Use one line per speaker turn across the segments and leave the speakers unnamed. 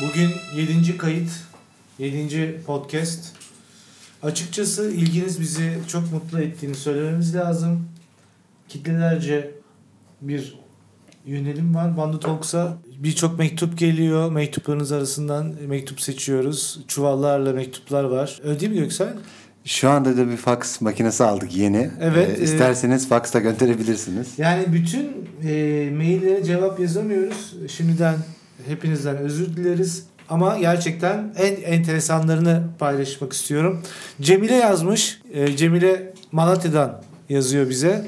Bugün 7. kayıt, 7. podcast. Açıkçası ilginiz bizi çok mutlu ettiğini söylememiz lazım. Kitlelerce bir yönelim var. Bandı Talks'a birçok mektup geliyor. Mektuplarınız arasından mektup seçiyoruz. Çuvallarla mektuplar var. Öyle değil mi Göksel?
Şu anda da bir fax makinesi aldık yeni.
Evet,
Ee, isterseniz fax da gönderebilirsiniz.
Yani bütün e, maillere cevap yazamıyoruz. Şimdiden hepinizden özür dileriz. Ama gerçekten en enteresanlarını paylaşmak istiyorum. Cemile yazmış. E, Cemile Malatya'dan yazıyor bize.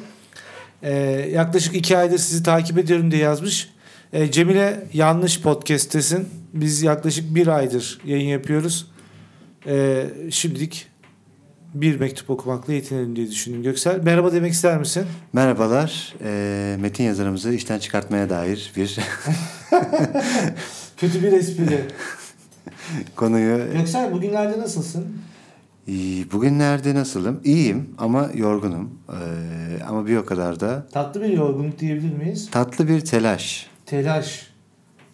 E, yaklaşık iki aydır sizi takip ediyorum diye yazmış. E, Cemile yanlış podcast'tesin. Biz yaklaşık bir aydır yayın yapıyoruz. E, şimdilik bir mektup okumakla yetinelim diye düşündüm. Göksel merhaba demek ister misin?
Merhabalar. Ee, metin yazarımızı işten çıkartmaya dair bir
Kötü bir espri.
konuyu.
Göksel bugünlerde nasılsın?
İyi, Bugünlerde nasılım? İyiyim ama yorgunum. Ee, ama bir o kadar da
Tatlı bir yorgunluk diyebilir miyiz?
tatlı bir telaş.
Telaş.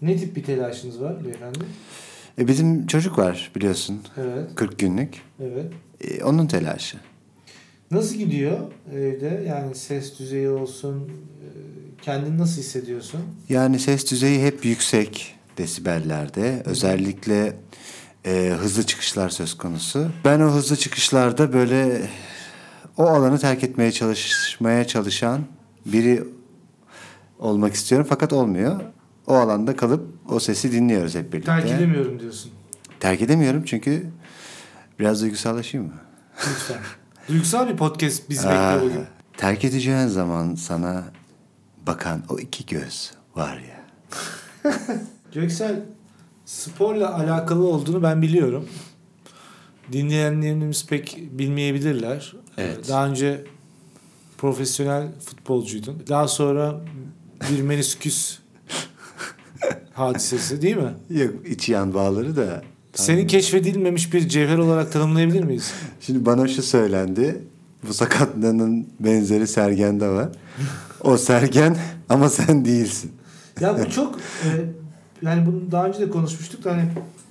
Ne tip bir telaşınız var beyefendi?
E, bizim çocuk var biliyorsun.
Evet,
40 günlük.
evet.
E, onun telaşı.
Nasıl gidiyor evde? Yani ses düzeyi olsun, e, kendini nasıl hissediyorsun?
Yani ses düzeyi hep yüksek desibellerde. Özellikle e, hızlı çıkışlar söz konusu. Ben o hızlı çıkışlarda böyle o alanı terk etmeye çalışmaya çalışan biri olmak istiyorum fakat olmuyor. O alanda kalıp o sesi dinliyoruz hep birlikte.
Terk edemiyorum diyorsun.
Terk edemiyorum çünkü biraz duygusallaşayım mı?
Lütfen. Duygusal bir podcast bizi
Aa,
bekliyor bugün.
Ah, terk edeceğin zaman sana bakan o iki göz var ya.
Göksel sporla alakalı olduğunu ben biliyorum. Dinleyenlerimiz pek bilmeyebilirler.
Evet.
Daha önce profesyonel futbolcuydun. Daha sonra bir menisküs hadisesi değil mi?
Yok içi yan bağları da
Seni keşfedilmemiş bir cevher olarak tanımlayabilir miyiz?
Şimdi bana şu söylendi. Bu sakatlığının benzeri Sergen'de var. O Sergen ama sen değilsin.
Ya bu çok e, yani bunu daha önce de konuşmuştuk da hani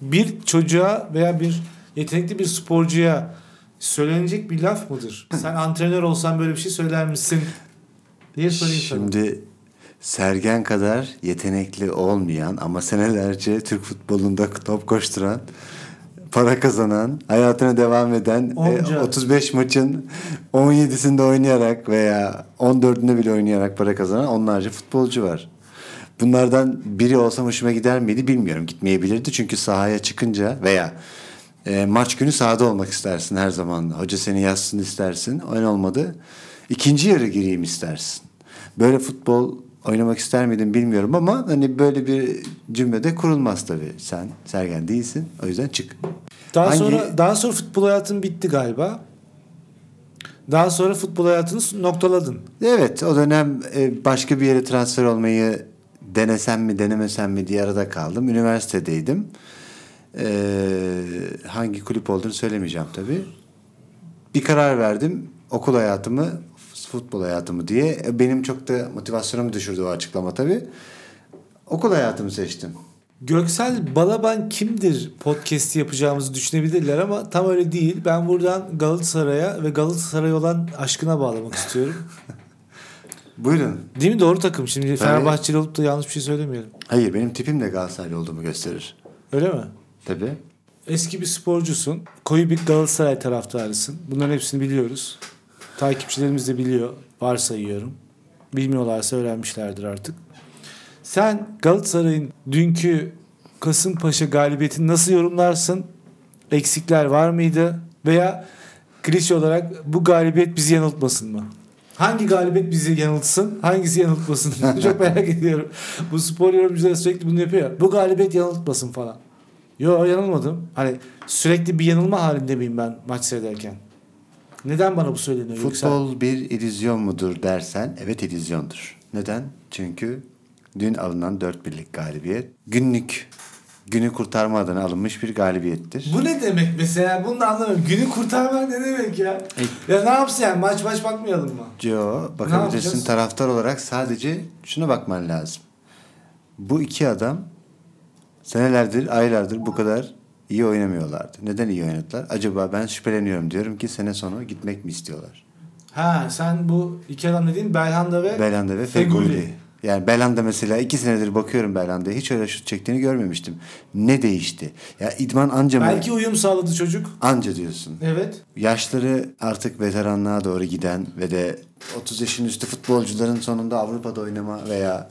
bir çocuğa veya bir yetenekli bir sporcuya söylenecek bir laf mıdır? Sen antrenör olsan böyle bir şey söyler misin? Diye sorayım sana.
Şimdi Sergen kadar yetenekli olmayan ama senelerce Türk futbolunda top koşturan, para kazanan, hayatına devam eden e,
Onca.
35 maçın 17'sinde oynayarak veya 14'ünde bile oynayarak para kazanan onlarca futbolcu var. Bunlardan biri olsam hoşuma gider miydi bilmiyorum. Gitmeyebilirdi çünkü sahaya çıkınca veya e, maç günü sahada olmak istersin her zaman. Hoca seni yazsın istersin. Oyun olmadı. İkinci yarı gireyim istersin. Böyle futbol oynamak ister miydim bilmiyorum ama hani böyle bir cümlede kurulmaz tabii. Sen Sergen değilsin. O yüzden çık.
Daha
hangi-
sonra daha sonra futbol hayatın bitti galiba. Daha sonra futbol hayatını noktaladın.
Evet o dönem e, başka bir yere transfer olmayı denesem mi denemesem mi diye arada kaldım. Üniversitedeydim. Ee, hangi kulüp olduğunu söylemeyeceğim tabii. Bir karar verdim. Okul hayatımı, futbol hayatımı diye. E, Benim çok da motivasyonumu düşürdü o açıklama tabii. Okul hayatımı seçtim.
Göksel Balaban kimdir podcast'i yapacağımızı düşünebilirler ama tam öyle değil. Ben buradan Galatasaray'a ve Galatasaray'a olan aşkına bağlamak istiyorum.
Buyurun.
Değil mi? Doğru takım. Şimdi Fenerbahçeli olup da yanlış bir şey söylemeyelim.
Hayır benim tipim de Galatasaraylı olduğumu gösterir.
Öyle mi?
Tabii.
Eski bir sporcusun. Koyu bir Galatasaray taraftarısın. Bunların hepsini biliyoruz. Takipçilerimiz de biliyor. Varsayıyorum. Bilmiyorlarsa öğrenmişlerdir artık. Sen Galatasaray'ın dünkü Kasımpaşa galibiyetini nasıl yorumlarsın? Eksikler var mıydı? Veya klişe olarak bu galibiyet bizi yanıltmasın mı? Hangi galibiyet bizi yanıltsın? Hangisi yanıltmasın? Çok merak ediyorum. Bu spor yorumcuları sürekli bunu yapıyor. ya, Bu galibiyet yanıltmasın falan. Yo yanılmadım. Hani sürekli bir yanılma halinde miyim ben maç seyrederken? Neden bana bu söyleniyor? Yüksel?
Futbol bir illüzyon mudur dersen evet illüzyondur. Neden? Çünkü dün alınan 4 birlik galibiyet günlük günü kurtarma adına alınmış bir galibiyettir.
Bu ne demek mesela? Bunu da anlamıyorum. Günü kurtarmak ne demek ya? Ya ne yapsın yani? Maç maç bakmayalım mı?
Yo,
Ne yapacağız?
bakabilirsin taraftar olarak sadece şuna bakman lazım. Bu iki adam Senelerdir, aylardır bu kadar iyi oynamıyorlardı. Neden iyi oynadılar? Acaba ben şüpheleniyorum diyorum ki sene sonu gitmek mi istiyorlar?
Ha sen bu iki adam dediğin Belhanda ve
Belanda ve Feguli. Yani Belanda mesela iki senedir bakıyorum Belanda'ya. Hiç öyle şut çektiğini görmemiştim. Ne değişti? Ya idman anca mı?
Belki uyum sağladı çocuk.
Anca diyorsun.
Evet.
Yaşları artık veteranlığa doğru giden ve de 30 yaşın üstü futbolcuların sonunda Avrupa'da oynama veya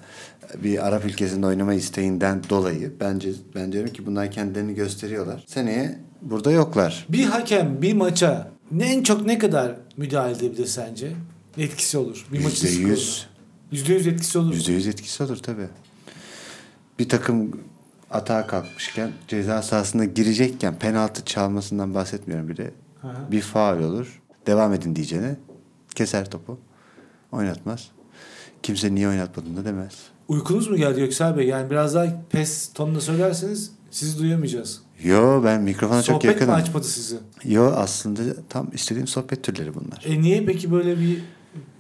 bir Arap ülkesinde oynama isteğinden dolayı bence ben diyorum ki bunlar kendilerini gösteriyorlar. Seneye burada yoklar.
Bir hakem bir maça ne en çok ne kadar müdahale edebilir sence? Etkisi olur. Bir maçın
%100.
skoruna. %100 etkisi olur.
%100 etkisi olur tabii. Bir takım atağa kalkmışken ceza sahasına girecekken penaltı çalmasından bahsetmiyorum bile.
Hı hı.
Bir faul olur. Devam edin diyeceğine keser topu. Oynatmaz. Kimse niye oynatmadığını da demez.
Uykunuz mu geldi Göksel Bey? Yani biraz daha pes tonla söylerseniz sizi duyamayacağız.
Yo ben mikrofona çok
Sohbet mi
yakınım.
açmadı sizi?
Yo aslında tam istediğim sohbet türleri bunlar.
E niye peki böyle bir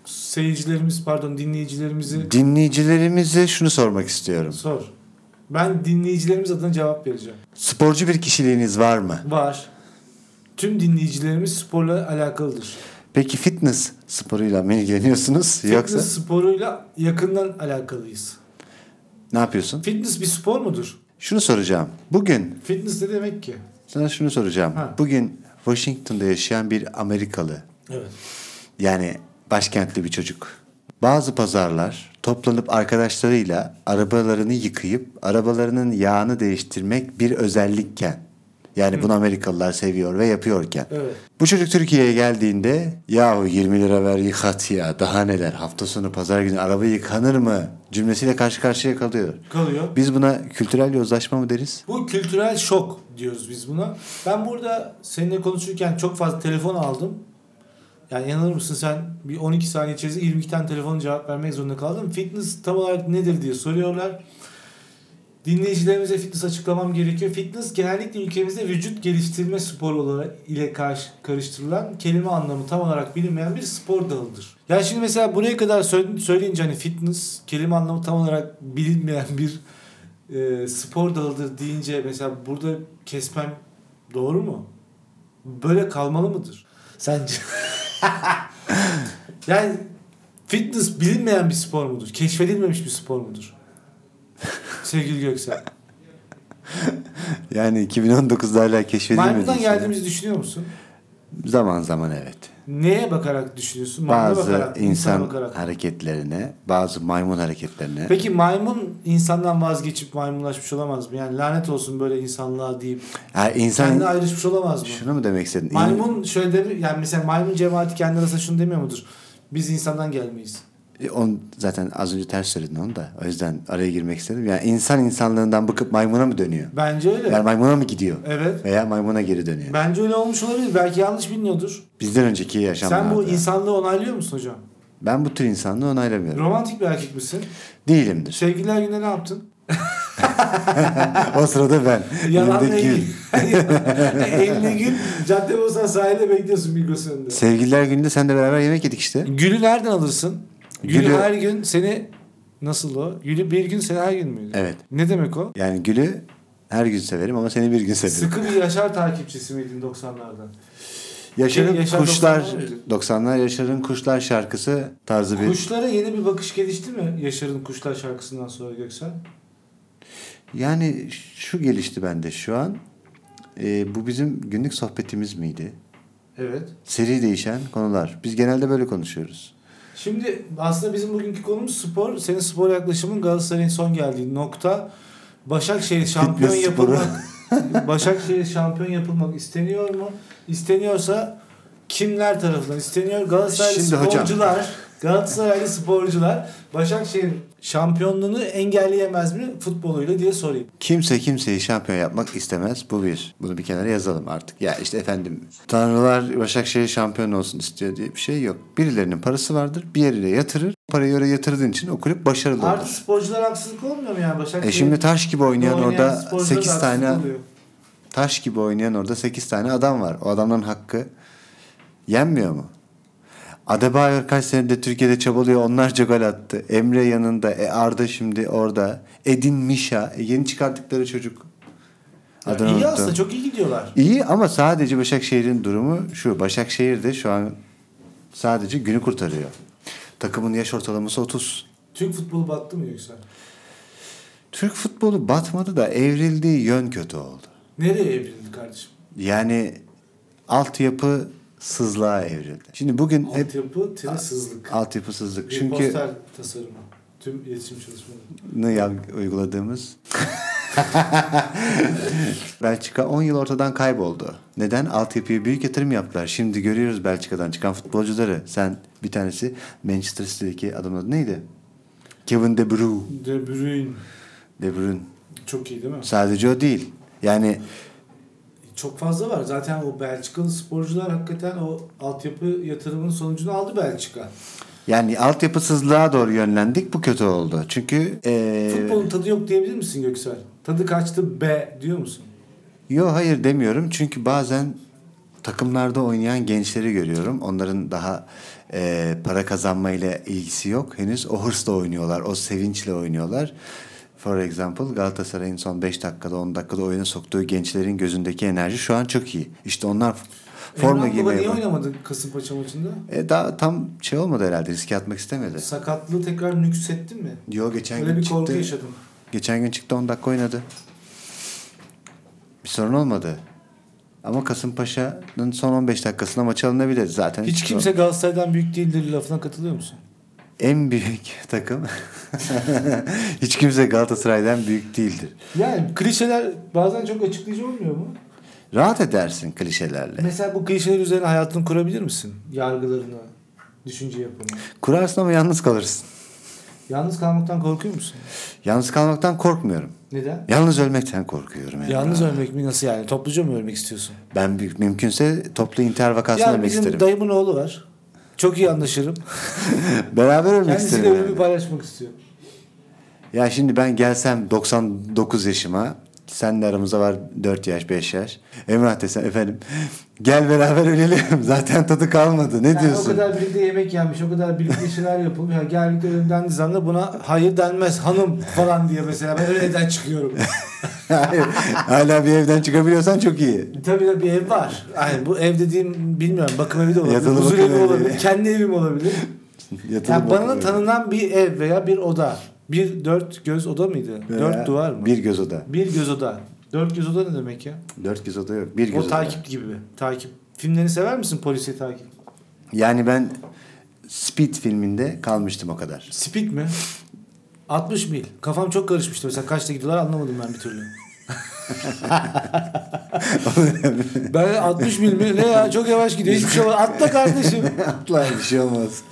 seyircilerimiz pardon dinleyicilerimizi
Dinleyicilerimize şunu sormak istiyorum.
sor. Ben dinleyicilerimiz adına cevap vereceğim.
Sporcu bir kişiliğiniz var mı?
Var. Tüm dinleyicilerimiz sporla alakalıdır.
Peki fitness sporuyla mı ilgileniyorsunuz yoksa
Fitness sporuyla yakından alakalıyız.
ne yapıyorsun?
Fitness bir spor mudur?
Şunu soracağım. Bugün
Fitness ne demek ki?
sana şunu soracağım.
Ha.
Bugün Washington'da yaşayan bir Amerikalı
Evet.
yani başkentli bir çocuk. Bazı pazarlar toplanıp arkadaşlarıyla arabalarını yıkayıp arabalarının yağını değiştirmek bir özellikken yani bunu Amerikalılar seviyor ve yapıyorken
Evet.
Bu çocuk Türkiye'ye geldiğinde yahu 20 lira ver yıkat ya daha neler hafta sonu pazar günü araba yıkanır mı cümlesiyle karşı karşıya kalıyor.
Kalıyor.
Biz buna kültürel yozlaşma mı deriz?
Bu kültürel şok diyoruz biz buna. Ben burada seninle konuşurken çok fazla telefon aldım. Yani inanır mısın sen bir 12 saniye içerisinde 22 tane telefon cevap vermek zorunda kaldım. Fitness tam olarak nedir diye soruyorlar. Dinleyicilerimize fitness açıklamam gerekiyor. Fitness genellikle ülkemizde vücut geliştirme sporu olarak ile karşı karıştırılan kelime anlamı tam olarak bilinmeyen bir spor dalıdır. Yani şimdi mesela buraya kadar söyl- söyleyince hani fitness kelime anlamı tam olarak bilinmeyen bir e, spor dalıdır deyince mesela burada kesmem doğru mu? Böyle kalmalı mıdır? Sence? yani fitness bilinmeyen bir spor mudur? Keşfedilmemiş bir spor mudur? Sevgili Göksel.
Yani 2019'da hala keşfedilmedi.
Maymundan
insan.
geldiğimizi düşünüyor musun?
Zaman zaman evet.
Neye bakarak düşünüyorsun? Maymuna
Bazı
bakarak, insana
insan
bakarak.
hareketlerine, bazı maymun hareketlerine.
Peki maymun insandan vazgeçip maymunlaşmış olamaz mı? Yani lanet olsun böyle insanlığa deyip
Ha,
kendi
insan
ayrışmış olamaz mı?
şunu mu demek istedin? İn-
Maymun şöyle demi yani mesela maymun cemaati kendi arasında şunu demiyor mudur? Biz insandan gelmeyiz.
E, on zaten az önce ters söyledin onu da. O yüzden araya girmek istedim. Yani insan insanlığından bıkıp maymuna mı dönüyor?
Bence öyle.
Yani maymuna mı gidiyor?
Evet.
Veya maymuna geri dönüyor.
Bence öyle olmuş olabilir. Belki yanlış biliniyordur.
Bizden önceki yaşamlarda.
Sen bu insanlığı onaylıyor musun hocam?
Ben bu tür insanlığı onaylamıyorum.
Romantik bir erkek misin?
Değilimdir.
Sevgililer günde ne yaptın?
o sırada ben.
Yalanla
Elimde gül.
ilgili. Eline gül. Cadde Bostan sahilde bekliyorsun Migros önünde.
Sevgililer gününde sen de beraber yemek yedik işte.
Gülü nereden alırsın? Gülü,
Gülü-
her gün seni nasıl o? Gülü bir gün seni her gün müydü?
Evet.
Ne demek o?
Yani gülü her gün severim ama seni bir gün severim.
Sıkı bir Yaşar takipçisi miydin 90'larda?
Yaşar'ın
şey, Yaşar
Kuşlar
90'lar mıydı?
90'lar Yaşar'ın Kuşlar şarkısı tarzı bir
Kuşlara yeni bir bakış gelişti mi Yaşar'ın Kuşlar şarkısından sonra Göksel?
Yani şu gelişti bende şu an. Ee, bu bizim günlük sohbetimiz miydi?
Evet.
Seri değişen konular. Biz genelde böyle konuşuyoruz.
Şimdi aslında bizim bugünkü konumuz spor. Senin spor yaklaşımın Galatasaray'ın son geldiği nokta. Başakşehir şampiyon
Fitness sporu.
yapılmak. Başakşehir şampiyon yapılmak isteniyor mu? İsteniyorsa kimler tarafından isteniyor? Galatasaraylı
Şimdi hocam.
sporcular, Galatasaraylı sporcular Başakşehir şampiyonluğunu engelleyemez mi futboluyla diye sorayım.
Kimse kimseyi şampiyon yapmak istemez. Bu bir. Bunu bir kenara yazalım artık. Ya işte efendim tanrılar Başakşehir şampiyon olsun istiyor diye bir şey yok. Birilerinin parası vardır. Bir yerine yatırır. Parayı oraya yatırdığın için o kulüp başarılı
Artı
olur.
sporcular haksızlık olmuyor mu yani Başakşehir?
E şimdi taş gibi oynayan orada
sporculara
8
haksızlık
tane
oluyor.
taş gibi oynayan orada 8 tane adam var. O adamların hakkı yenmiyor mu? Adebayor kaç senedir Türkiye'de çabalıyor. Onlarca gol attı. Emre yanında. E Arda şimdi orada. Edin Mişa. E yeni çıkarttıkları çocuk. Adını
iyi
unuttum.
aslında çok iyi gidiyorlar.
İyi ama sadece Başakşehir'in durumu şu. Başakşehir de şu an sadece günü kurtarıyor. Takımın yaş ortalaması 30.
Türk futbolu battı mı yoksa?
Türk futbolu batmadı da evrildiği yön kötü oldu.
Nereye evrildi kardeşim?
Yani altyapı sızlığa evrildi. Şimdi bugün hep
Altyapı, tınısızlık.
altyapısızlık.
Çünkü...
Çünkü
Poster tasarımı. Tüm iletişim çalışmaları.
ne yap- uyguladığımız Belçika 10 yıl ortadan kayboldu. Neden? Altyapıya büyük yatırım yaptılar. Şimdi görüyoruz Belçika'dan çıkan futbolcuları. Sen bir tanesi Manchester City'deki adamın adı neydi? Kevin De Bruyne.
De Bruyne
De Bruyne.
çok iyi değil mi?
Sadece o değil. Yani
Çok fazla var. Zaten o Belçikalı sporcular hakikaten o altyapı yatırımının sonucunu aldı Belçika.
yani altyapısızlığa doğru yönlendik. Bu kötü oldu. Çünkü eee,
Futbolun tadı yok diyebilir misin Göksel? Tadı kaçtı be diyor musun?
Yo hayır demiyorum çünkü bazen takımlarda oynayan gençleri görüyorum. Onların daha e, para kazanmayla ilgisi yok. Henüz o hırsla oynuyorlar, o sevinçle oynuyorlar. For example Galatasaray'ın son 5 dakikada 10 dakikada oyuna soktuğu gençlerin gözündeki enerji şu an çok iyi. İşte onlar forma
Emrah Baba
giymeye
niye
bak-
oynamadı Kasımpaşa maçında?
e, daha tam şey olmadı herhalde riske atmak istemedi.
Sakatlığı tekrar nüksettin mi?
Yo geçen
Öyle
gün
bir korku
çıktı.
yaşadım.
Geçen gün çıktı 10 dakika oynadı. Bir sorun olmadı. Ama Kasımpaşa'nın son 15 dakikasına maç alınabilir zaten.
Hiç kimse Galatasaray'dan büyük değildir lafına katılıyor musun?
En büyük takım. Hiç kimse Galatasaray'dan büyük değildir.
Yani klişeler bazen çok açıklayıcı olmuyor mu?
Rahat edersin klişelerle.
Mesela bu klişeler üzerine hayatını kurabilir misin? Yargılarını, düşünce yapını.
Kurarsın ama yalnız kalırsın.
Yalnız kalmaktan korkuyor musun?
Yalnız kalmaktan korkmuyorum.
Neden?
Yalnız ölmekten korkuyorum. Yani.
Yalnız ölmek mi nasıl yani? Topluca mı ölmek istiyorsun?
Ben bir- mümkünse toplu intihar vakasına
Yani
ölmek
bizim
isterim.
dayımın oğlu var. Çok iyi anlaşırım.
Beraber ölmek
Kendisiyle
isterim. yani.
ölümü paylaşmak istiyor.
Ya şimdi ben gelsem 99 yaşıma senle aramızda var 4 yaş 5 yaş. Emrah desem efendim gel beraber ölelim zaten tadı kalmadı ne
Yani o
diyorsun?
kadar birlikte yemek yenmiş, o kadar birlikte şeyler yapılmış. Yani geldi ölümden zanla buna hayır denmez hanım falan diye mesela ben öyle evden çıkıyorum.
Hayır, Hala bir evden çıkabiliyorsan çok iyi.
Tabii tabii bir ev var. Yani bu ev dediğim bilmiyorum bakım evi de olabilir,
Yatılı
huzur
bakım
evi
evi.
olabilir, kendi evim olabilir.
Yatılı
Yani bana
bakıyorum.
tanınan bir ev veya bir oda. Bir dört göz oda mıydı?
Veya
dört duvar mı?
Bir göz oda.
Bir göz oda. Dört göz oda ne demek ya?
Dört göz oda yok. Bir göz
o
oda.
takip gibi. Takip. Filmlerini sever misin polisi takip?
Yani ben Speed filminde kalmıştım o kadar.
Speed mi? 60 mil. Kafam çok karışmıştı mesela kaçta gidiyorlar anlamadım ben bir türlü. ben 60 mil mi? Ne ya çok yavaş gidiyor hiçbir şey olmaz. Atla kardeşim.
Atla bir şey olmaz.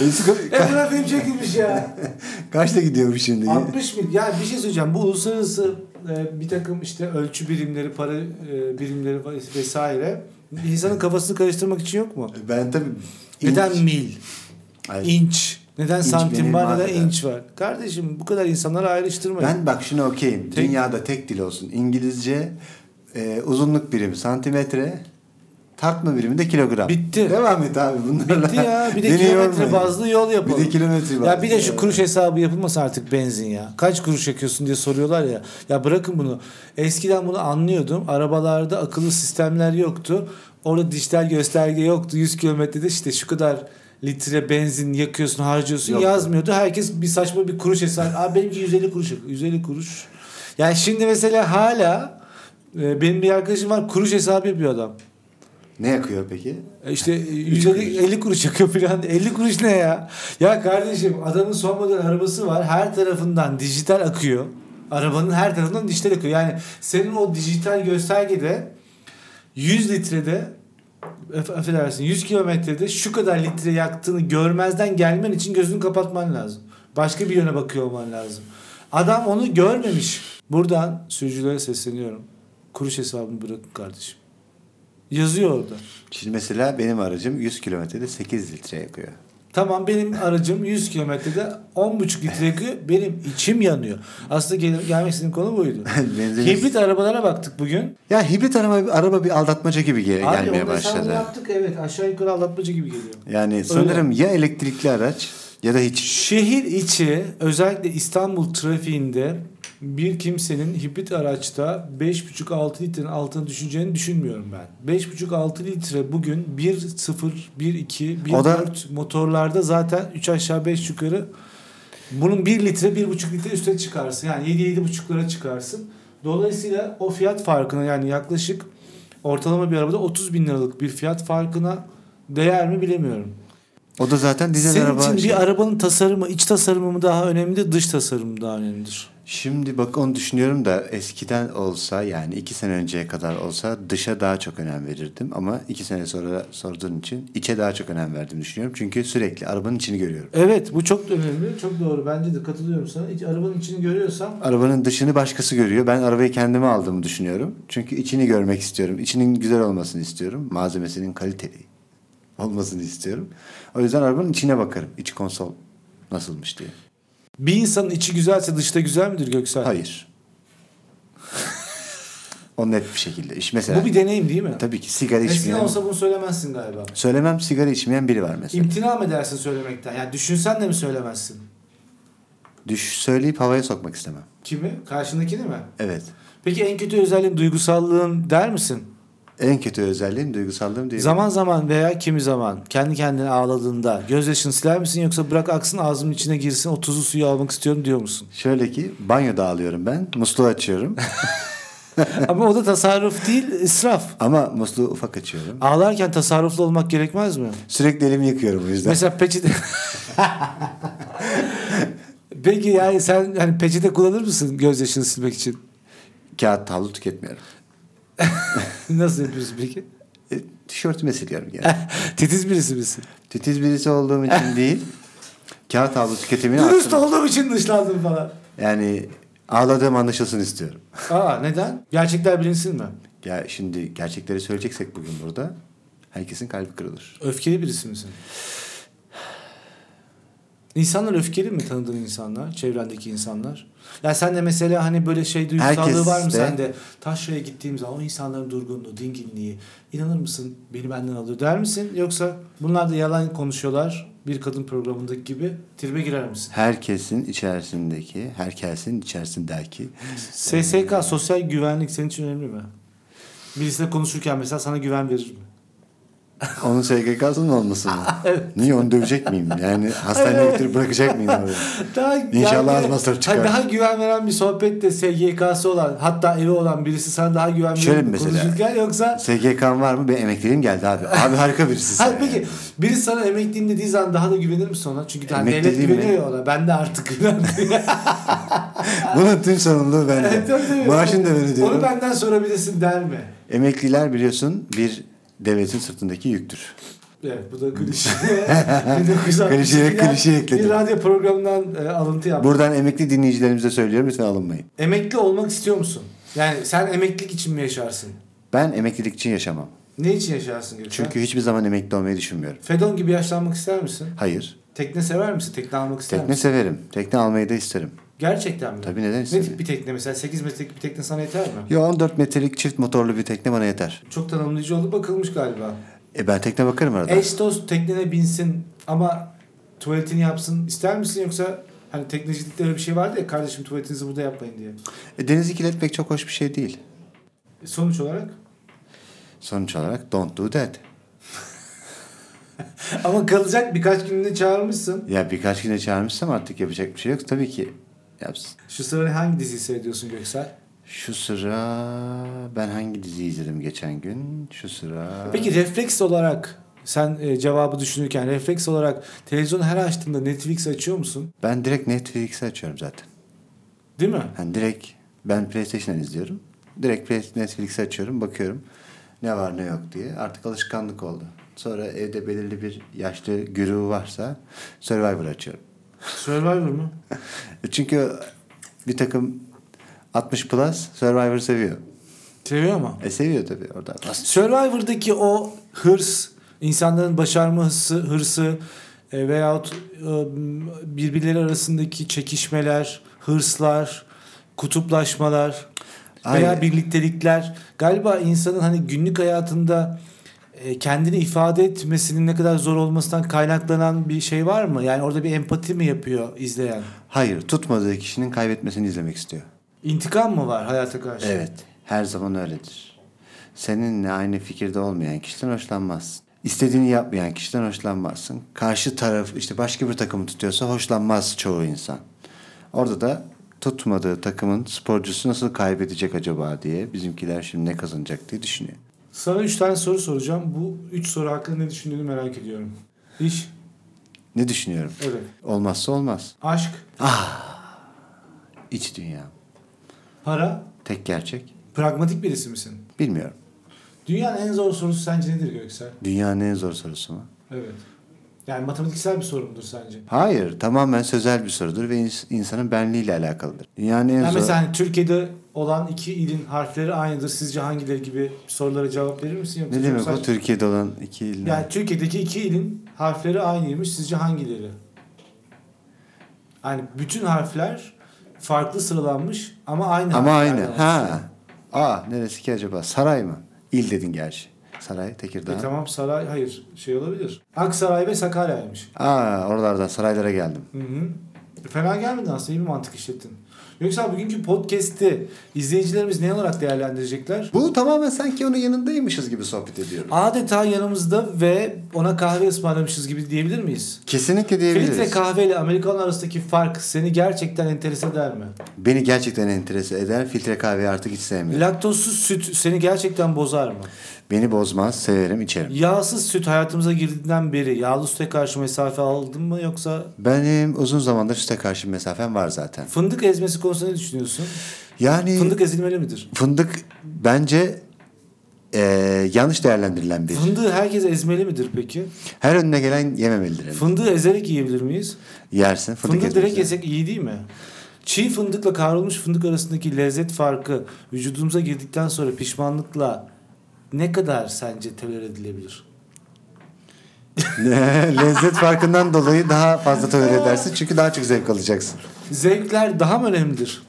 Esko- ka-
Emrah E, film çekilmiş ya.
Kaçta gidiyormuş şimdi?
60 mil. Ya bir şey söyleyeceğim. Bu uluslararası e, bir takım işte ölçü birimleri, para e, birimleri vesaire insanın kafasını karıştırmak için yok mu?
Ben tabii...
Neden mil?
Ay,
İnç. Neden
İnç
santim
beni
var neden
mahveder.
inç var? Kardeşim bu kadar insanları ayrıştırmayın.
Ben bak şuna okeyim. Dünyada tek dil olsun. İngilizce e, uzunluk birimi santimetre, tartma birimi de kilogram.
Bitti.
Devam et abi bunlarla.
Bitti ya. Bir de
Beni
kilometre
yormayın.
bazlı yol yapalım.
Bir de kilometre bazlı.
Ya bir de şu kuruş hesabı yapılmasın artık benzin ya. Kaç kuruş yakıyorsun diye soruyorlar ya. Ya bırakın bunu. Eskiden bunu anlıyordum. Arabalarda akıllı sistemler yoktu. Orada dijital gösterge yoktu. 100 kilometrede işte şu kadar litre benzin yakıyorsun harcıyorsun
Yok.
yazmıyordu. Herkes bir saçma bir kuruş hesabı. Abi benimki 150 kuruş. yok. 150 kuruş. Yani şimdi mesela hala e, benim bir arkadaşım var kuruş hesabı yapıyor adam.
Ne yakıyor peki?
E İşte 150 50 kuruş yakıyor falan. 50 kuruş ne ya? Ya kardeşim adamın son model arabası var. Her tarafından dijital akıyor. Arabanın her tarafından dijital akıyor. Yani senin o dijital göstergede 100 litrede aff- affedersin 100 kilometrede şu kadar litre yaktığını görmezden gelmen için gözünü kapatman lazım. Başka bir yöne bakıyor olman lazım. Adam onu görmemiş. Buradan sürücülere sesleniyorum. Kuruş hesabını bırakın kardeşim. Yazıyor orada.
Şimdi mesela benim aracım 100 kilometrede 8 litre yakıyor.
Tamam benim aracım 100 kilometrede 10,5 litre yakıyor. Benim içim yanıyor. Aslında gel- gelmek istediğim konu buydu.
Benzin-
Hibrit arabalara baktık bugün.
Ya hibrit araba, araba bir aldatmaca gibi ge-
Abi
gelmeye
onun hesabını
başladı.
yaptık evet aşağı yukarı aldatmacı gibi geliyor.
Yani sanırım ya elektrikli araç ya da hiç.
Şehir içi özellikle İstanbul trafiğinde bir kimsenin hibrit araçta 5,5-6 litrenin altına düşeceğini düşünmüyorum ben. 5,5-6 litre bugün 1.0, 1.2,
O da-
1.4 motorlarda zaten 3 aşağı 5 yukarı bunun 1 litre 1.5 litre üstüne çıkarsın. Yani 7-7.5'lara çıkarsın. Dolayısıyla o fiyat farkına yani yaklaşık ortalama bir arabada 30 bin liralık bir fiyat farkına değer mi bilemiyorum.
O da zaten dizel
Senin
araba.
için
şey-
bir arabanın tasarımı, iç tasarımı mı daha önemlidir, dış tasarımı mı daha önemlidir?
Şimdi bak onu düşünüyorum da eskiden olsa yani iki sene önceye kadar olsa dışa daha çok önem verirdim. Ama iki sene sonra sorduğun için içe daha çok önem verdim düşünüyorum. Çünkü sürekli arabanın içini görüyorum.
Evet bu çok önemli. Çok doğru. Bence de katılıyorum sana. İç, arabanın içini görüyorsam
Arabanın dışını başkası görüyor. Ben arabayı kendime aldığımı düşünüyorum. Çünkü içini görmek istiyorum. İçinin güzel olmasını istiyorum. Malzemesinin kaliteli olmasını istiyorum. O yüzden arabanın içine bakarım. İç konsol nasılmış diye.
bir insanın içi güzelse dışta güzel midir Göksel?
Hayır. o net bir şekilde. İş mesela.
Bu bir deneyim değil mi?
Tabii ki sigara
Eskiden
içmeyen.
olsa bunu söylemezsin galiba.
Söylemem sigara içmeyen biri var mesela.
İmtina mı edersin söylemekten? Yani düşünsen de mi söylemezsin?
Düş söyleyip havaya sokmak istemem.
Kimi? Karşındakini mi?
Evet.
Peki en kötü özelliğin duygusallığın der misin?
En kötü özelliğim duygusallığım diye.
Zaman zaman veya kimi zaman kendi kendine ağladığında gözyaşını siler misin yoksa bırak aksın ağzımın içine girsin o tuzlu suyu almak istiyorum diyor musun?
Şöyle ki banyoda ağlıyorum ben. Musluğu açıyorum.
Ama o da tasarruf değil israf.
Ama musluğu ufak açıyorum.
Ağlarken tasarruflu olmak gerekmez mi?
Sürekli elimi yıkıyorum o yüzden.
Mesela peçete... Peki yani sen hani peçete kullanır mısın gözyaşını silmek için?
Kağıt havlu tüketmiyorum.
Nasıl yapıyorsun peki?
E, tişörtüme siliyorum yani.
Titiz birisi misin?
Titiz birisi olduğum için değil. Kağıt havlu tüketimini
Dürüst
arttırıyorum.
olduğum için dışlandım falan.
Yani ağladığım anlaşılsın istiyorum.
Aa neden? Gerçekler bilinsin mi?
Ya şimdi gerçekleri söyleyeceksek bugün burada herkesin kalbi kırılır.
Öfkeli birisi misin? İnsanlar öfkeli mi tanıdığın insanlar? Çevrendeki insanlar? Ya sen de mesela hani böyle şey duygusallığı
Herkes
var mı
de-
sende? Taşra'ya gittiğim zaman o insanların durgunluğu, dinginliği inanır mısın beni benden alıyor der misin? Yoksa bunlar da yalan konuşuyorlar bir kadın programındaki gibi tribe girer misin?
Herkesin içerisindeki, herkesin içerisindeki
SSK sosyal güvenlik senin için önemli mi? Birisiyle konuşurken mesela sana güven verir mi?
Onun SGK'sının olması mı? Niye onu dövecek miyim? Yani hastaneye götürüp bırakacak mıyım oraya?
Daha
İnşallah az masraf çıkar.
Hani daha güven veren bir sohbette SGK'sı olan hatta evi olan birisi sana daha güven verir
Şöyle
mi
mesela.
konuşurken yoksa
SGK'm var mı? Benim emekliliğim geldi abi. Abi harika birisi sen.
Hayır peki birisi sana emekliyim dediği zaman daha da güvenir misin ona? Çünkü hani
Emekli
devlet
değil mi?
güveniyor ya ona. Ben de artık güvenmiyorum.
Bunun tüm sorumluluğu bende. Maaşını da ben ödüyorum.
Onu benden sorabilirsin der mi?
Emekliler biliyorsun bir devletin sırtındaki yüktür.
Evet bu da klişe.
Klişeye
1962'den
klişe Hmm. ekledim.
Bir radyo programından e, alıntı yaptım.
Buradan emekli dinleyicilerimize söylüyorum lütfen alınmayın.
Emekli olmak istiyor musun? Yani sen emeklilik için mi yaşarsın?
Ben emeklilik için yaşamam.
Ne için yaşarsın Gökhan?
Çünkü hiçbir zaman emekli olmayı düşünmüyorum.
Fedon gibi yaşlanmak ister misin?
Hayır.
Tekne sever misin? Tekne almak ister
Tekne
misin?
severim. Tekne almayı da isterim.
Gerçekten mi?
Tabii neden
Ne
istemeyeyim?
tip bir tekne mesela? 8 metrelik bir tekne sana yeter mi?
Yo 14 metrelik çift motorlu bir tekne bana yeter.
Çok tanımlayıcı oldu bakılmış galiba.
E ben tekne bakarım arada.
Eş dost teknene binsin ama tuvaletini yapsın ister misin yoksa hani teknecilikte öyle bir şey vardı ya kardeşim tuvaletinizi burada yapmayın diye.
E, denizi kirletmek çok hoş bir şey değil.
Sonuç olarak
Sonuç olarak don't do that.
ama kalacak birkaç günde çağırmışsın.
Ya birkaç güne çağırmışsam artık yapacak bir şey yok. Tabii ki yapsın.
Şu sıra hangi diziyi seyrediyorsun Göksel?
Şu sıra ben hangi diziyi izledim geçen gün? Şu sıra...
Peki refleks olarak sen e, cevabı düşünürken refleks olarak televizyonu her açtığında Netflix açıyor musun?
Ben direkt Netflix'i açıyorum zaten.
Değil mi?
Yani direkt ben PlayStation'dan izliyorum. Direkt Play- Netflix'i açıyorum, bakıyorum ne var ne yok diye. Artık alışkanlık oldu. Sonra evde belirli bir yaşlı güruhu varsa Survivor açıyorum. E,
Survivor mu?
Çünkü bir takım 60 plus Survivor seviyor.
Seviyor mu?
E seviyor tabii orada.
Survivor'daki o hırs, insanların başarma hırsı, hırsı e, veyahut e, birbirleri arasındaki çekişmeler, hırslar, kutuplaşmalar veya
Aynen.
birliktelikler galiba insanın hani günlük hayatında e, kendini ifade etmesinin ne kadar zor olmasından kaynaklanan bir şey var mı? Yani orada bir empati mi yapıyor izleyen?
Hayır tutmadığı kişinin kaybetmesini izlemek istiyor.
İntikam mı var hayata karşı?
Evet. Her zaman öyledir. Seninle aynı fikirde olmayan kişiden hoşlanmazsın. İstediğini yapmayan kişiden hoşlanmazsın. Karşı taraf işte başka bir takımı tutuyorsa hoşlanmaz çoğu insan. Orada da tutmadığı takımın sporcusu nasıl kaybedecek acaba diye bizimkiler şimdi ne kazanacak diye düşünüyor.
Sana üç tane soru soracağım. Bu üç soru hakkında ne düşündüğünü merak ediyorum. İş,
Ne düşünüyorum?
evet.
Olmazsa olmaz.
Aşk,
İç dünya.
para,
Tek gerçek.
pragmatik birisi misin?
Bilmiyorum.
Dünyanın en zor sorusu sence nedir Göksel?
Dünyanın en zor sorusu mu?
Evet. Yani matematiksel bir soru mudur sence?
Hayır. Tamamen sözel bir sorudur ve ins- insanın benliğiyle alakalıdır. Dünyanın en
Yani
zor...
mesela hani Türkiye'de olan iki ilin harfleri aynıdır. Sizce hangileri gibi sorulara cevap verir misin? Yoksa
Ne
çok
demek
saçma-
bu Türkiye'de olan iki il?
Yani Türkiye'deki iki ilin harfleri aynıymış. Sizce hangileri? Yani bütün harfler farklı sıralanmış ama aynı.
Ama aynı.
harflerden oluşuyor.
Ha. Aa neresi ki acaba? Saray mı? İl dedin gerçi. Saray, Tekirdağ.
E tamam saray hayır şey olabilir. Aksaray ve Sakarya'ymış.
Aa oralardan saraylara geldim.
Hı hı. E, Fena gelmedi aslında iyi bir mantık işlettin. Yoksa bugünkü podcast'i izleyicilerimiz ne olarak değerlendirecekler?
Bu tamamen sanki onun yanındaymışız gibi sohbet ediyoruz.
Adeta yanımızda ve ona kahve ısmarlamışız gibi diyebilir miyiz?
Kesinlikle
Filtre
diyebiliriz.
kahve ile Amerikan arasındaki fark seni gerçekten enterese eder mi?
Beni gerçekten enterese eder. Filtre kahveyi artık hiç sevmiyorum.
Laktozsuz süt seni gerçekten bozar mı?
Beni bozmaz, severim, içerim.
Yağsız süt hayatımıza girdiğinden beri yağlı süte karşı mesafe aldın mı yoksa
Benim uzun zamandır süte karşı mesafem var zaten.
fındık ezmesi konusunda ne düşünüyorsun?
Yani fındık,
Fındık ezilmeli midir?
bence eee, yanlış değerlendirilen bir.
Fındığı herkes ezmeli midir peki?
Her önüne gelen yememelidir.
Fındığı ezerek yiyebilir miyiz?
Yersin. Fındık,
Fındığı
fındık
direkt yesek iyi değil mi? Çiğ fındıkla kavrulmuş fındık arasındaki lezzet farkı vücudumuza girdikten sonra pişmanlıkla ne kadar sence tolere edilebilir?
Lezzet farkından dolayı daha fazla tolere edersin çünkü daha çok zevk alacaksın.
Zevkler daha mı önemlidir?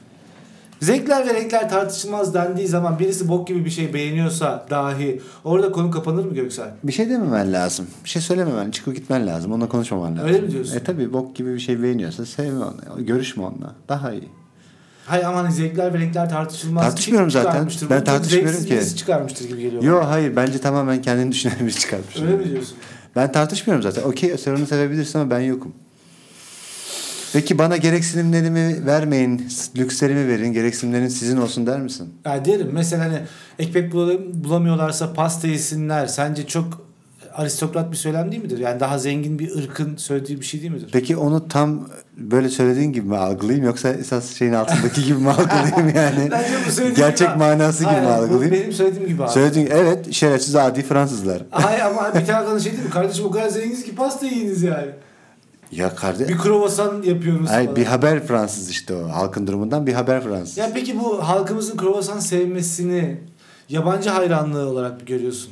Zevkler ve renkler tartışılmaz dendiği zaman birisi bok gibi bir şey beğeniyorsa dahi orada konu kapanır mı Göksel?
Bir şey dememen lazım. Bir şey söylememen, çıkıp gitmen lazım. Onunla konuşmaman lazım.
Öyle mi diyorsun?
E tabi bok gibi bir şey beğeniyorsa sevme onu. Görüşme onunla. Daha iyi.
Hayır aman hani zevkler ve renkler tartışılmaz.
Tartışmıyorum
Kim
zaten.
çıkarmıştır?
Ben
Bunu çok
tartışmıyorum
zevksiz
ki.
birisi çıkarmıştır gibi geliyor.
Yo hayır bence tamamen kendini düşünen biri çıkartmış.
Öyle mi diyorsun?
Ben tartışmıyorum zaten. Okey sen onu sevebilirsin ama ben yokum. Peki bana gereksinimlerimi vermeyin, lükslerimi verin, gereksinimlerin sizin olsun der misin?
Ya derim mesela hani ekmek bulam- bulamıyorlarsa pasta yesinler. Sence çok aristokrat bir söylem değil midir? Yani daha zengin bir ırkın söylediği bir şey değil midir?
Peki onu tam böyle söylediğin gibi mi algılayayım yoksa esas şeyin altındaki gibi mi algılayayım yani?
Bence bu söylediğim
Gerçek
gibi-
manası gibi mi
Hayır, bu
algılayayım?
Benim söylediğim gibi abi.
Söylediğin evet şerefsiz adi Fransızlar.
Hayır ama bir tane kadın şey değil mi? Kardeşim o kadar zenginiz ki pasta yiyiniz yani.
Ya kardeş.
Bir kruvasan yapıyoruz
Ay,
falan.
bir haber Fransız işte o. Halkın durumundan bir haber Fransız.
Ya peki bu halkımızın kruvasan sevmesini yabancı hayranlığı olarak mı görüyorsun?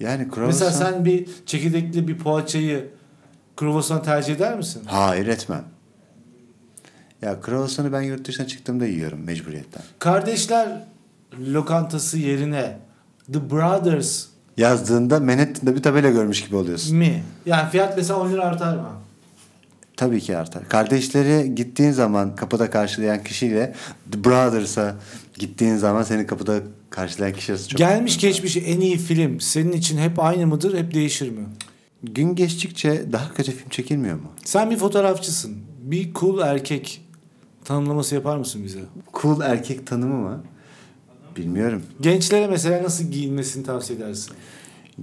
yani kruvasan.
Mesela sen bir çekirdekli bir poğaçayı kruvasan tercih eder misin?
Hayır etmem. Ya kruvasanı ben yurt dışına çıktığımda yiyorum mecburiyetten.
Kardeşler lokantası yerine The Brothers
Yazdığında Manhattan'da bir tabela görmüş gibi oluyorsun.
mi? Yani fiyat mesela 10 lira artar mı?
Tabii ki artar. Kardeşleri gittiğin zaman kapıda karşılayan kişiyle The Brothers'a gittiğin zaman seni kapıda karşılayan kişi arası çok
Gelmiş geçmiş en iyi film senin için hep aynı mıdır hep değişir mi?
Gün geçtikçe daha kötü film çekilmiyor mu?
Sen bir fotoğrafçısın. Bir cool erkek tanımlaması yapar mısın bize?
Cool erkek tanımı mı? Bilmiyorum.
Gençlere mesela nasıl giyinmesini tavsiye edersin?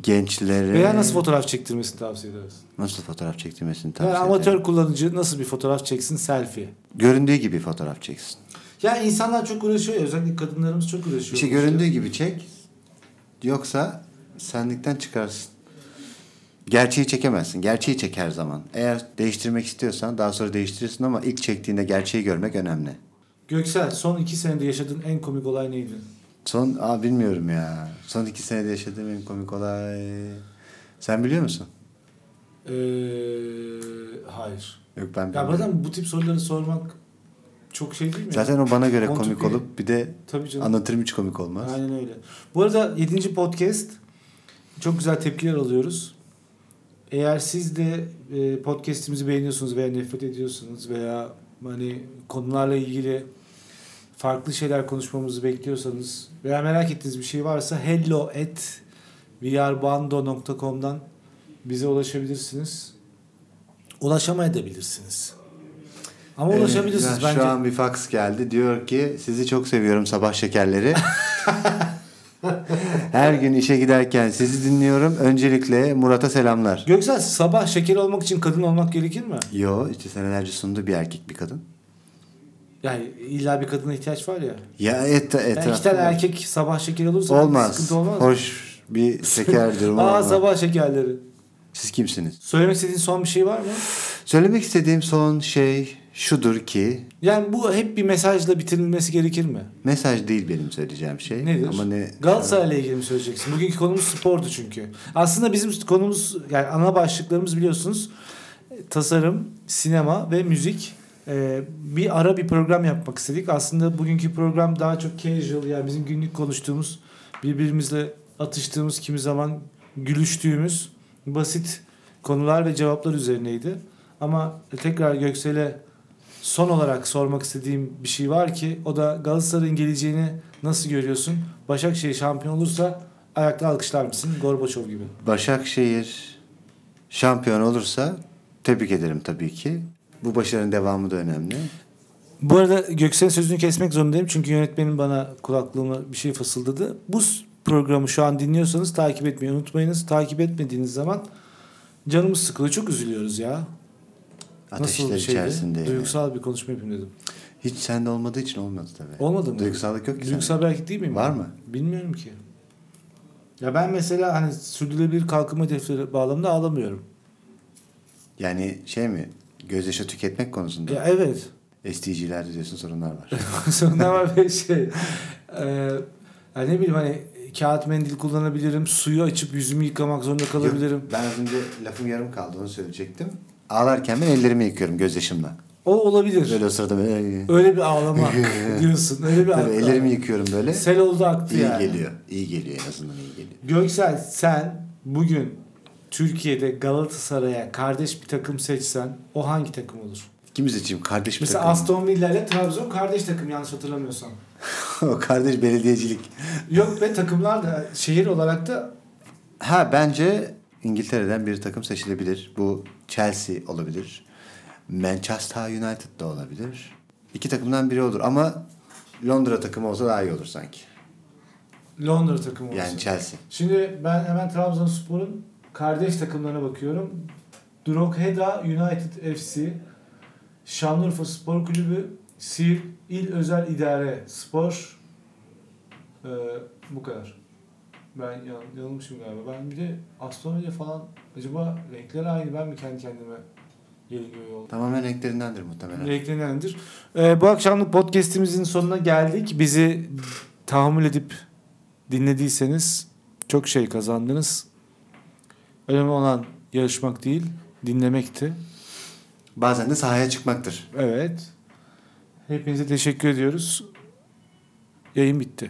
Gençlere
Veya nasıl fotoğraf çektirmesini tavsiye edersin?
nasıl fotoğraf çektirmesini
Yani
tavsiye
amatör
ederim.
kullanıcı nasıl bir fotoğraf çeksin? Selfie.
Göründüğü gibi fotoğraf çeksin.
Yani insanlar çok uğraşıyor. ya, Özellikle kadınlarımız çok uğraşıyor.
Bir şey göründüğü gibi çek. Yoksa senlikten çıkarsın. Gerçeği çekemezsin. Gerçeği çek her zaman. Eğer değiştirmek istiyorsan daha sonra değiştirirsin ama ilk çektiğinde gerçeği görmek önemli.
Göksel son iki senede yaşadığın en komik olay neydi?
Son, aa bilmiyorum ya. Son iki senede yaşadığım en komik olay. Sen biliyor musun?
Ee, hayır.
Yok ben
Ya
bilmiyorum.
bazen bu tip soruları sormak çok şey değil mi?
Zaten o bana göre
Mantıklı.
komik olup bir de
Tabii canım.
anlatırım hiç komik olmaz.
Aynen öyle. Bu arada 7. podcast çok güzel tepkiler alıyoruz. Eğer siz de e, podcast'imizi beğeniyorsunuz veya nefret ediyorsunuz veya hani konularla ilgili farklı şeyler konuşmamızı bekliyorsanız veya merak ettiğiniz bir şey varsa hello at vrbando.com'dan bize ulaşabilirsiniz. Ulaşamayabilirsiniz. Ama
Ee,
ulaşabilirsiniz
ya
bence.
Şu an bir fax geldi. Diyor ki sizi çok seviyorum sabah şekerleri. Her gün işe giderken sizi dinliyorum. Öncelikle Murat'a selamlar.
Göksel sabah şeker olmak için kadın olmak gerekir mi?
Yo işte senelerce sundu bir erkek bir kadın.
Yani illa bir kadına ihtiyaç var ya.
Ya et, et,
Yani iki tane erkek sabah şeker olursa
olmaz.
sıkıntı olmaz. mı?
Hoş bir şeker durumu
Aa
olmaz.
sabah şekerleri.
Siz kimsiniz?
Söylemek istediğin son bir şey var mı?
Söylemek istediğim son şey şudur ki
Yani bu hep bir mesajla bitirilmesi gerekir mi?
mesaj değil benim söyleyeceğim şey.
Nedir?
Ama ne?
Galatasaray'la ilgili mi söyleyeceksin? Bugünkü konumuz spordu çünkü. Aslında bizim konumuz yani ana başlıklarımız biliyorsunuz e, tasarım, sinema ve müzik. E, bir ara bir program yapmak istedik. Aslında bugünkü program daha çok casual yani bizim günlük konuştuğumuz, birbirimizle atıştığımız, kimi zaman gülüştüğümüz basit konular ve cevaplar üzerineydi. Ama tekrar Göksel'e son olarak sormak istediğim bir şey var ki o da Galatasaray'ın geleceğini nasıl görüyorsun? Başakşehir şampiyon olursa ayakta alkışlar mısın? Gorbaçov gibi.
Başakşehir şampiyon olursa tebrik ederim tabii ki. Bu başarının devamı da önemli.
Bu arada Göksel'in sözünü kesmek zorundayım çünkü yönetmenim bana kulaklığıma bir şey fısıldadı. Bu s- programı şu an dinliyorsanız takip etmeyi unutmayınız. Takip etmediğiniz zaman canımız sıkılıyor. Çok üzülüyoruz ya.
Ateşler
bir şeydi?
içerisinde. yani.
Duygusal bir konuşma yapayım dedim.
Hiç sende olmadığı için olmadı tabii.
Olmadı mı?
Duygusallık yok ki
Duygusal bir erkek değil miyim?
sende. Var mı?
Bilmiyorum ki. Ya ben mesela hani sürdürülebilir kalkınma hedefleri bağlamında ağlamıyorum.
Yani şey mi? Gözyaşı tüketmek konusunda.
Ya evet.
SDG'lerde diyorsun sorunlar var.
Sonra var bir şey. Ee, ya ne bileyim hani kağıt mendil kullanabilirim. Suyu açıp yüzümü yıkamak zorunda kalabilirim.
Yok, ben az önce lafım yarım kaldı onu söyleyecektim. Ağlarken ben ellerimi yıkıyorum gözyaşımla.
O olabilir.
Böyle o sırada böyle.
Öyle bir ağlama diyorsun. Öyle bir
Tabii
ağlama.
ellerimi yıkıyorum böyle.
Sel oldu aktı
İyi
yani.
geliyor. İyi geliyor en azından iyi geliyor.
Göksel sen bugün Türkiye'de Galatasaray'a kardeş bir takım seçsen o hangi takım olur?
Kimi seçeyim? Kardeş mi
Mesela
takım?
Aston Villa ile Trabzon kardeş takım yanlış hatırlamıyorsam.
o kardeş belediyecilik.
Yok ve takımlar da şehir olarak da
Ha bence İngiltere'den bir takım seçilebilir. Bu Chelsea olabilir. Manchester United da olabilir. İki takımdan biri olur ama Londra takımı olsa daha iyi olur sanki.
Londra takımı olsun.
Yani Chelsea.
Şimdi ben hemen Trabzonspor'un kardeş takımlarına bakıyorum. Drogheda United FC, Şanlıurfa Spor Kulübü, Siirt İl Özel İdare Spor. Ee, bu kadar. Ben yan, yanılmışım galiba. Ben bir de Aston Villa falan acaba renkleri aynı ben mi kendi kendime geliyor oldum?
Tamamen renklerindendir muhtemelen.
Renklenendir. Ee, bu akşamlık podcastimizin sonuna geldik. Bizi tahammül edip dinlediyseniz çok şey kazandınız. Önemli olan yarışmak değil, dinlemekti.
Bazen de sahaya çıkmaktır.
Evet. Hepinize teşekkür ediyoruz. Yayın bitti.